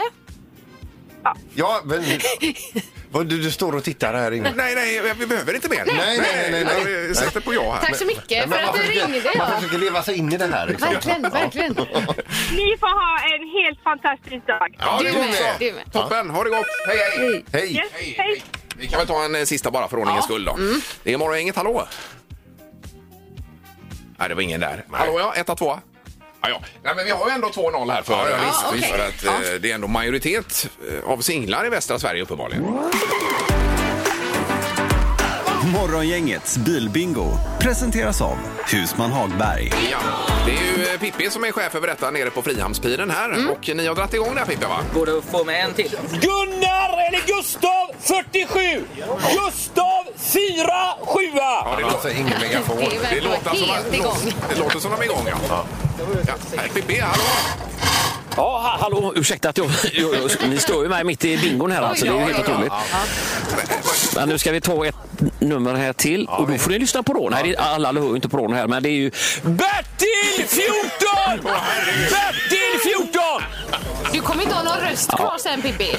[SPEAKER 5] Ja,
[SPEAKER 6] det.
[SPEAKER 5] ja men... Vad Du, du står och tittar här inne.
[SPEAKER 4] Nej, nej, vi behöver inte mer.
[SPEAKER 5] nej, nej, nej, nej.
[SPEAKER 4] vi Sätter på ja här.
[SPEAKER 6] Tack så mycket för
[SPEAKER 5] Men
[SPEAKER 6] att
[SPEAKER 5] man
[SPEAKER 6] du
[SPEAKER 5] försöker-
[SPEAKER 6] ringde.
[SPEAKER 5] Man
[SPEAKER 6] Ja.
[SPEAKER 5] försöker leva sig in i det här. Liksom.
[SPEAKER 6] Verkligen, verkligen.
[SPEAKER 2] Ni får ha en helt fantastisk dag.
[SPEAKER 5] Ja,
[SPEAKER 6] Du
[SPEAKER 5] du
[SPEAKER 6] med.
[SPEAKER 5] också.
[SPEAKER 6] Du med.
[SPEAKER 4] Toppen, ha det gott! Hej, hej!
[SPEAKER 5] Hej.
[SPEAKER 2] Hej, hej.
[SPEAKER 4] Vi kan väl ta en eh, sista bara för ordningens skull då. Det är Morgongänget, hallå? Nej, det var ingen där. Hallå ja, etta, tvåa. Ja, ja. Nej, men vi har ju ändå 2-0 här för,
[SPEAKER 5] Ja, ja,
[SPEAKER 6] visst, visst.
[SPEAKER 4] för att eh, det är ändå majoritet eh, av singlar i västra Sverige uppenbarligen.
[SPEAKER 10] Morgongängets bilbingo presenteras av Husman Hagberg.
[SPEAKER 4] Ja, det är ju eh, Pippi som är chef över detta nere på Frihamnspiren här. Och ni har dragit igång det här Pippi va?
[SPEAKER 11] Går det att få med en till?
[SPEAKER 7] Gunnar eller Gustav 47! Gustav 4 7
[SPEAKER 4] Ja, det,
[SPEAKER 5] Alltså, ingen megafon.
[SPEAKER 6] Det är
[SPEAKER 4] det, låter
[SPEAKER 6] verkligen
[SPEAKER 4] som,
[SPEAKER 6] helt igång.
[SPEAKER 4] det låter som de är igång ja. ja. här, Pippi, hallå!
[SPEAKER 11] Ja, ha, hallå, ursäkta att jag... jag, jag ni står ju mig mitt i bingon här alltså, det är ju helt otroligt. Men nu ska vi ta ett nummer här till och då får ni lyssna på rån. Nej, det- alla alla hör ju inte på rån här, men det är ju... Bertil 14! Bertil 14!
[SPEAKER 6] Du kommer inte ha någon röst kvar sen, Pippi.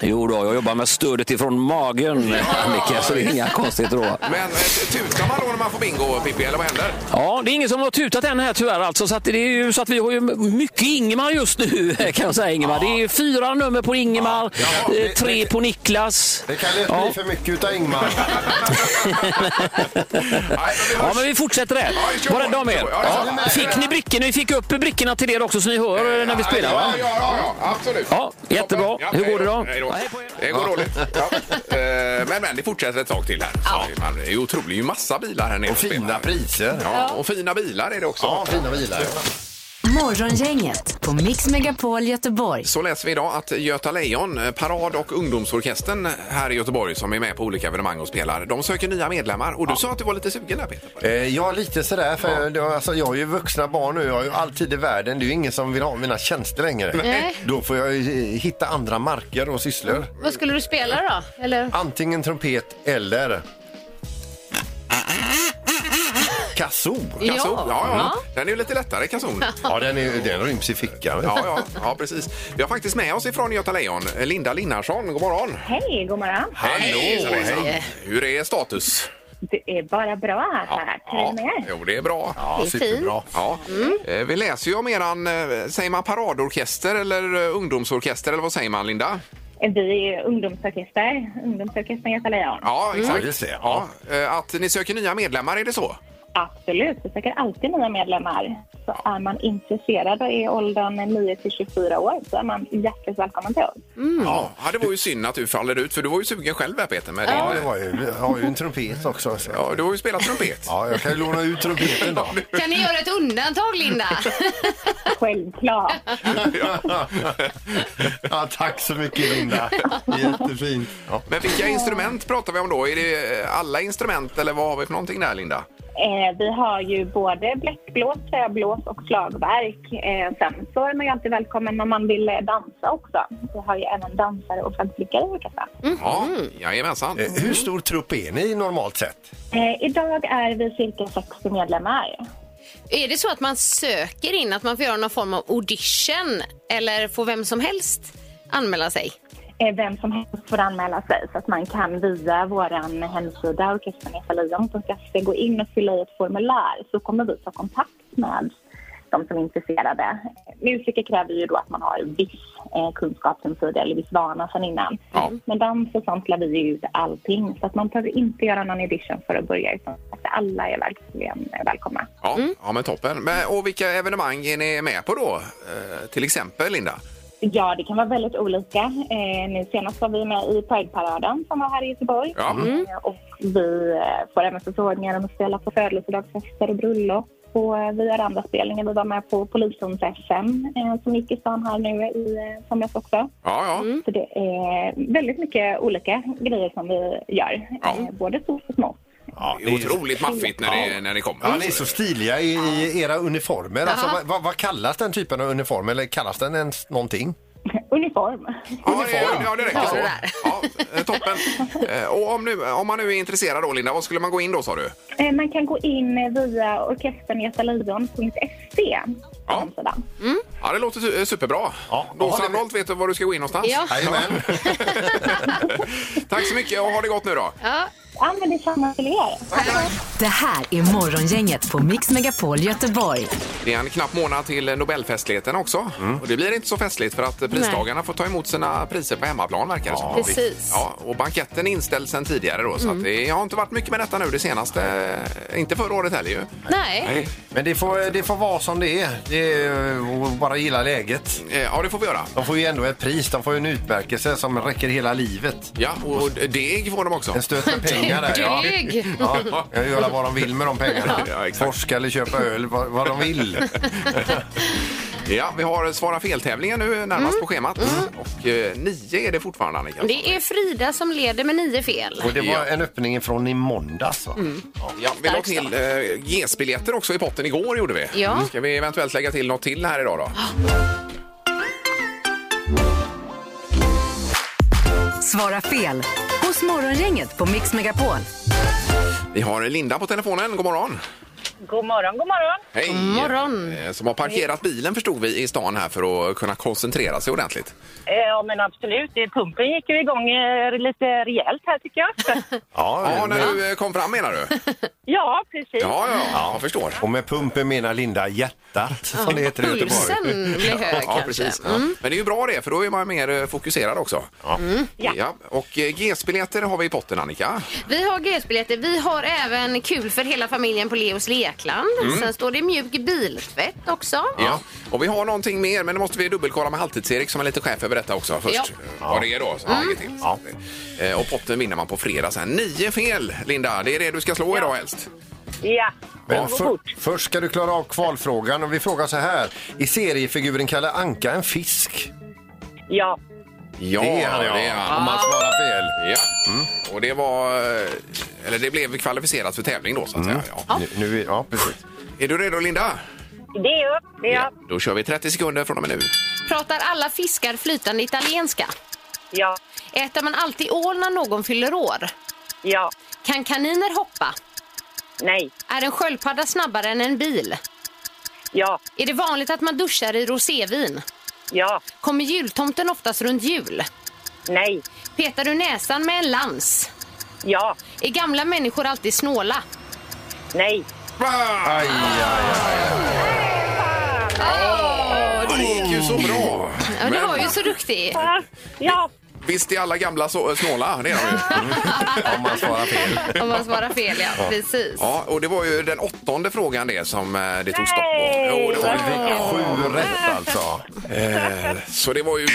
[SPEAKER 11] Jo då, jag jobbar med stödet ifrån magen, Annika, så det är inga konstigheter då.
[SPEAKER 4] Men eh, tutar man då när man får bingo, Pippi, eller vad händer?
[SPEAKER 11] Ja, det är ingen som har tutat än här tyvärr alltså. Så att det är ju så att vi har ju mycket Ingemar just nu kan jag säga Ingemar. Det är fyra nummer på Ingemar,
[SPEAKER 5] Ja.
[SPEAKER 11] eh, tre på Niklas.
[SPEAKER 5] Det kan lätt
[SPEAKER 11] Ja.
[SPEAKER 5] bli för mycket utav Ingmar.
[SPEAKER 11] Ja, men vi fortsätter det. Var rädda om er. Ja. Fick ni brickorna? Vi fick upp brickorna till er också så ni hör eh, när vi spelar. va?
[SPEAKER 4] Ja, ja, ja, ja absolut.
[SPEAKER 11] Ja, jättebra.
[SPEAKER 4] Ja,
[SPEAKER 11] Hur
[SPEAKER 4] hej
[SPEAKER 11] går det då?
[SPEAKER 4] Hej då. Det går
[SPEAKER 11] Ja.
[SPEAKER 4] dåligt. Ja. Eh, Men, men det fortsätter ett tag till här. Så det är- man- Det är otroligt. Det är ju massa bilar här nere. Och fina
[SPEAKER 5] priser.
[SPEAKER 4] Ja, och fina bilar är det också.
[SPEAKER 5] Ja, fina bilar.
[SPEAKER 3] Morgongänget på Mix Megapol Göteborg.
[SPEAKER 4] Så läser vi idag att Göta Lejon, eh, Parad och ungdomsorkestern här i Göteborg som är med på olika evenemang och spelar, de söker nya medlemmar. Och du sa att du var lite sugen där Peter?
[SPEAKER 5] Eh, Ja, lite sådär. För jag- jag, alltså, jag har ju vuxna barn nu. Jag har ju alltid i världen. Det är ju ingen som vill ha mina tjänster längre.
[SPEAKER 6] Nej.
[SPEAKER 5] Då får jag ju eh, hitta andra marker och sysslor.
[SPEAKER 6] Vad skulle du spela då? Eller?
[SPEAKER 5] Antingen trumpet eller... Kazoo.
[SPEAKER 6] Ja.
[SPEAKER 4] Kazoo, ja, ja.
[SPEAKER 6] Ja.
[SPEAKER 4] Den är ju lite lättare, kazon.
[SPEAKER 5] Ja, den, är, den ryms i fickan. vet du.
[SPEAKER 4] Ja, ja, ja, precis. Vi har faktiskt med oss ifrån Göta Lejon, Linda Linnarsson. God morgon!
[SPEAKER 12] Hej, god morgon.
[SPEAKER 4] Hallå! Hej. Hur är status?
[SPEAKER 12] Det är bara bra här. Ja, ja.
[SPEAKER 4] Jo, det är bra.
[SPEAKER 12] Det är fint. Mm. superbra.
[SPEAKER 4] Ja. Eh, Vi läser ju om eran, eh, säger man paradorkester eller eh, ungdomsorkester eller vad säger man Linda?
[SPEAKER 12] Vi är ungdomsorkester, ungdomsorkestern Göta Lejon.
[SPEAKER 4] Ja, exakt.
[SPEAKER 12] Mm.
[SPEAKER 4] Ja. eh, Att ni söker nya medlemmar, är det så?
[SPEAKER 12] Absolut, vi söker alltid nya medlemmar. Så är man intresserad och är i åldern 9 till 24 år så är man hjärtligt välkommen till oss.
[SPEAKER 4] Ja. ja, det var ju synd att du faller ut för du var ju sugen själv här Peter. Med
[SPEAKER 5] Ja,
[SPEAKER 4] din,
[SPEAKER 5] det var ju, jag har ju en trumpet också. Så.
[SPEAKER 4] Ja, du har ju spelat trumpet.
[SPEAKER 5] Ja, jag kan ju låna ut trumpeten då.
[SPEAKER 6] Kan ni göra ett undantag, Linda?
[SPEAKER 12] Självklart.
[SPEAKER 5] ja, tack så mycket Linda. Jättefint.
[SPEAKER 4] Men vilka instrument pratar vi om då? Är det eh, alla instrument eller vad har vi för någonting där Linda?
[SPEAKER 12] Eh, vi har ju både bläckblås, träblås och slagverk. Eh, sen så är man ju alltid välkommen om man vill eh, dansa också. Vi har ju även dansare och fältflickare i orkestern.
[SPEAKER 4] Ja, jajamensan.
[SPEAKER 5] Eh, Hur stor trupp är ni normalt sett?
[SPEAKER 12] Eh, idag är vi cirka 60 medlemmar.
[SPEAKER 6] Är det så att man söker in att man får göra någon form av audition eller får vem som helst anmäla sig?
[SPEAKER 12] Eh, Vem som helst får anmäla sig så att man kan via vår hemsida orkesternetalejon.se gå in och fylla i ett formulär så kommer vi ta kontakt med de som är intresserade. Eh, Musiker kräver ju då att man har viss eh, kunskap sen tidigare eller viss vana sen innan. Men dans och sånt lär vi ju ut allting så att man behöver inte göra någon audition för att börja utan att alla är verkligen eh, välkomna.
[SPEAKER 4] Ja, ja men toppen. Men, och vilka evenemang är ni med på då? Eh, till exempel Linda?
[SPEAKER 12] Ja, det kan vara väldigt olika. Eh, nu senast var vi med i Prideparaden som var här i Göteborg.
[SPEAKER 4] Ja. Mm.
[SPEAKER 12] Eh, och vi eh, får även förfrågningar om att spela på födelsedagsfester och bröllop. Och eh, vi gör andra spelningar. Vi var med på Polishunds-SM eh, som gick i stan här nu i eh, somras också.
[SPEAKER 4] Ja, ja.
[SPEAKER 12] Så det är väldigt mycket olika grejer som vi gör. Eh, både stort och smått.
[SPEAKER 5] Ja,
[SPEAKER 4] det är otroligt maffigt när, det, när ni kommer.
[SPEAKER 5] Ja, ni är så stiliga i, i era uniformer. Alltså,
[SPEAKER 12] Jaha.
[SPEAKER 5] vad, vad, vad kallas den typen av uniform? Eller kallas den ens någonting?
[SPEAKER 12] Uniform.
[SPEAKER 4] Ja, det, ja, det räcker så. Ja, eh, toppen. Eh, Och om, nu, om man nu är intresserad då, Linda, vad skulle man gå in då sa du?
[SPEAKER 12] Eh, man kan gå in eh, via orkesterngetalejon.se.
[SPEAKER 4] Ja. ja, det låter su- eh, superbra. Då Sandholt vet du var du ska gå in någonstans.
[SPEAKER 12] Ja.
[SPEAKER 5] Jajamän.
[SPEAKER 4] Tack så mycket och ha det gott nu då.
[SPEAKER 6] Ja.
[SPEAKER 12] ja, men detsamma till er.
[SPEAKER 3] Det här är Morgongänget på Mix Megapol Göteborg.
[SPEAKER 4] Det är en knapp månad till Nobelfestligheten också. Och det blir inte så festligt för att eh, pristagarna får ta emot sina priser på hemmaplan verkar det som.
[SPEAKER 6] Precis. Mm.
[SPEAKER 4] Ja, och banketten är inställd sedan tidigare då. Så att det jag har inte varit mycket med detta nu det senaste. eh, Inte förra året heller ju.
[SPEAKER 6] Nej.
[SPEAKER 5] Men det får, det får vara som det är. Det är eh, och bara gilla läget.
[SPEAKER 4] Eh, Ja, det får vi göra.
[SPEAKER 5] De får ju ändå ett pris. De får ju en utmärkelse som räcker hela livet.
[SPEAKER 4] Ja, och deg får de också.
[SPEAKER 5] En stöt med pengar där. Ja.
[SPEAKER 6] Deg.
[SPEAKER 5] Ja, de kan göra vad de vill med de pengarna. Forska eller köpa öl, vad, vad de vill.
[SPEAKER 4] Ja, vi har Svara fel-tävlingen nu närmast på schemat. Och eh, nio är det fortfarande, Annika.
[SPEAKER 6] Det är Frida som leder med nio fel.
[SPEAKER 5] Och det var en öppning från i måndags. Va?
[SPEAKER 4] Ja, vi la till eh, GES-biljetter också i potten igår gjorde vi. Mm.
[SPEAKER 6] Ja.
[SPEAKER 4] Ska vi eventuellt lägga till något till här idag då?
[SPEAKER 3] Svara fel hos Morgongänget på Mix Megapol.
[SPEAKER 4] Vi har Linda på telefonen. God morgon!
[SPEAKER 13] God morgon, god morgon.
[SPEAKER 4] Hej!
[SPEAKER 13] morgon.
[SPEAKER 4] Eh, Som har parkerat bilen förstod vi i stan här för att kunna koncentrera sig ordentligt.
[SPEAKER 13] Eh, Ja, men absolut. Eh, Pumpen gick ju igång eh, lite rejält här tycker jag.
[SPEAKER 4] Ja, när du eh, kom fram menar du?
[SPEAKER 13] ja, precis.
[SPEAKER 4] ja, jag förstår.
[SPEAKER 5] Och med pumpen menar Linda hjärtat, som det heter i Göteborg.
[SPEAKER 6] blir hög
[SPEAKER 4] ja,
[SPEAKER 6] kanske.
[SPEAKER 4] precis. Ja.
[SPEAKER 6] Mm.
[SPEAKER 4] Men det är ju bra det, för då är man mer eh, fokuserad också. Ja. Ja. Och eh, GS-biljetter har vi i potten, Annika.
[SPEAKER 6] Vi har GS-biljetter. Vi har även kul för hela familjen på Leos Lekland.
[SPEAKER 4] Mm.
[SPEAKER 6] Sen står det mjuk biltvätt också.
[SPEAKER 4] Ja. Och vi har någonting mer, men det måste vi dubbelkolla med Halvtids-Erik som är lite chef över detta också först.
[SPEAKER 6] Ja.
[SPEAKER 4] Eh, Vad det är då. Så han lägger till. Så, eh, Och potten vinner man på fredag sen. Nio fel, Linda. Det är det du ska slå idag helst.
[SPEAKER 13] Ja.
[SPEAKER 5] Men för, först ska du klara av kvalfrågan och vi frågar så här. I seriefiguren Kalle Anka en fisk?
[SPEAKER 13] Ja.
[SPEAKER 4] Ja,
[SPEAKER 5] det är han. Ja.
[SPEAKER 4] det är han.
[SPEAKER 5] Om man svarar fel.
[SPEAKER 4] Ja. Mm. Och det var... eh, Eller det blev kvalificerat för tävling då, så att säga. Ja.
[SPEAKER 5] Nu, nu, är- ja, precis.
[SPEAKER 4] Är du redo, Linda?
[SPEAKER 13] Det är jag. Det är jag.
[SPEAKER 4] Då kör vi 30 sekunder från och med nu.
[SPEAKER 6] Pratar alla fiskar flytande italienska?
[SPEAKER 13] Ja.
[SPEAKER 6] Äter man alltid ål när någon fyller år?
[SPEAKER 13] Ja.
[SPEAKER 6] Kan kaniner hoppa?
[SPEAKER 13] Nej.
[SPEAKER 6] Är en sköldpadda snabbare än en bil?
[SPEAKER 13] Ja.
[SPEAKER 6] Är det vanligt att man duschar i rosévin?
[SPEAKER 13] Ja.
[SPEAKER 6] Kommer jultomten oftast runt jul?
[SPEAKER 13] Nej.
[SPEAKER 6] Petar du näsan med en lans?
[SPEAKER 13] Ja.
[SPEAKER 6] Är gamla människor alltid snåla?
[SPEAKER 13] Nej.
[SPEAKER 5] Aj, aj,
[SPEAKER 4] Ja, det gick ju så bra.
[SPEAKER 6] Ja, du var ju så duktig.
[SPEAKER 13] Ja.
[SPEAKER 4] Visst är alla gamla så, snåla, det är de ju.
[SPEAKER 5] Om man svarar fel.
[SPEAKER 6] Om man svarar fel, ja.
[SPEAKER 4] Ja.
[SPEAKER 6] Precis.
[SPEAKER 4] Ja, och det var ju den åttonde frågan det som eh, det tog stopp på. Jo, det var
[SPEAKER 5] det. Sju rätt alltså.
[SPEAKER 4] Eh, Så det var ju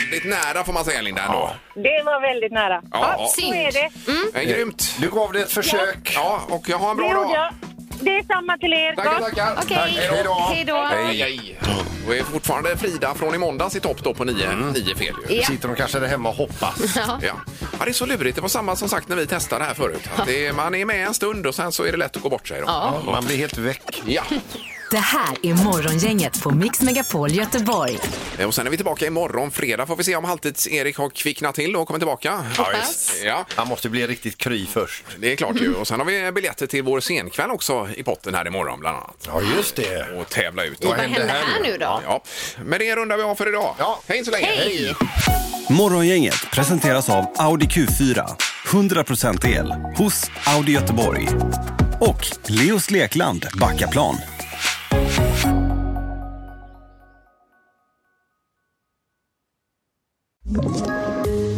[SPEAKER 4] väldigt nära får man säga Linda ändå.
[SPEAKER 13] Det var väldigt nära.
[SPEAKER 4] Ja,
[SPEAKER 13] så
[SPEAKER 4] synd.
[SPEAKER 13] är det. Mm.
[SPEAKER 4] Eh, Grymt!
[SPEAKER 5] Du gav det ett försök.
[SPEAKER 4] Ja, och jag har en
[SPEAKER 13] Det
[SPEAKER 4] bra
[SPEAKER 13] gjorde
[SPEAKER 4] dag.
[SPEAKER 13] jag. Det är samma till er.
[SPEAKER 4] Tackar,
[SPEAKER 13] Gott.
[SPEAKER 4] tackar.
[SPEAKER 13] Okej.
[SPEAKER 4] Tack. Hej då.
[SPEAKER 13] Hej då.
[SPEAKER 4] Hej, hej. Och är fortfarande Frida från i måndags i topp då på nio, nio fel ju.
[SPEAKER 6] Ja.
[SPEAKER 5] Sitter de kanske där hemma och hoppas.
[SPEAKER 6] Ja.
[SPEAKER 4] Ja. ja, det är så lurigt. Det var samma som sagt när vi testade här förut. Att det är, man är med en stund och sen så är det lätt att gå bort sig. Då.
[SPEAKER 6] Ja.
[SPEAKER 5] Man blir helt väck.
[SPEAKER 4] Ja.
[SPEAKER 3] Det här är Morgongänget på Mix Megapol Göteborg.
[SPEAKER 4] Eh, Och sen är vi tillbaka imorgon fredag. Får vi se om Halvtids-Erik har kvicknat till och kommer tillbaka.
[SPEAKER 5] Hoppas.
[SPEAKER 4] Ja.
[SPEAKER 5] Han måste bli riktigt kry först.
[SPEAKER 4] Det är klart ju. Och sen har vi biljetter till vår scenkväll också i potten här imorgon bland annat.
[SPEAKER 5] Ja, just det.
[SPEAKER 4] Och tävla ut.
[SPEAKER 6] Vad händer här nu då?
[SPEAKER 4] Ja. Men det rundar vi av för idag. Ja. Hej så länge!
[SPEAKER 6] Hej!
[SPEAKER 10] Morgongänget presenteras av Audi Q4. 100% el hos Audi Göteborg. Och Leos Lekland Backaplan.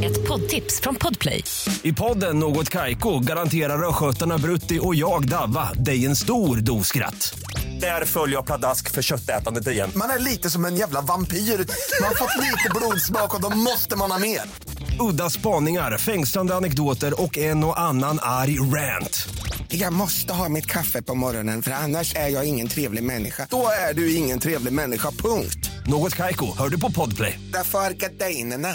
[SPEAKER 14] Ett poddtips från Podplay.
[SPEAKER 15] I podden Något Kaiko garanterar östgötarna Brutti och jag, Davva, dig en stor dos skratt. Där följer jag pladask för köttätandet igen.
[SPEAKER 16] Man är lite som en jävla vampyr. Man har fått lite blodsmak och då måste man ha mer.
[SPEAKER 15] Udda spaningar, fängslande anekdoter och en och annan arg rant.
[SPEAKER 16] Jag måste ha mitt kaffe på morgonen för annars är jag ingen trevlig människa. Då är du ingen trevlig människa, punkt.
[SPEAKER 15] Något Kaiko, hör du på Podplay.
[SPEAKER 16] Därför arkadeinerna.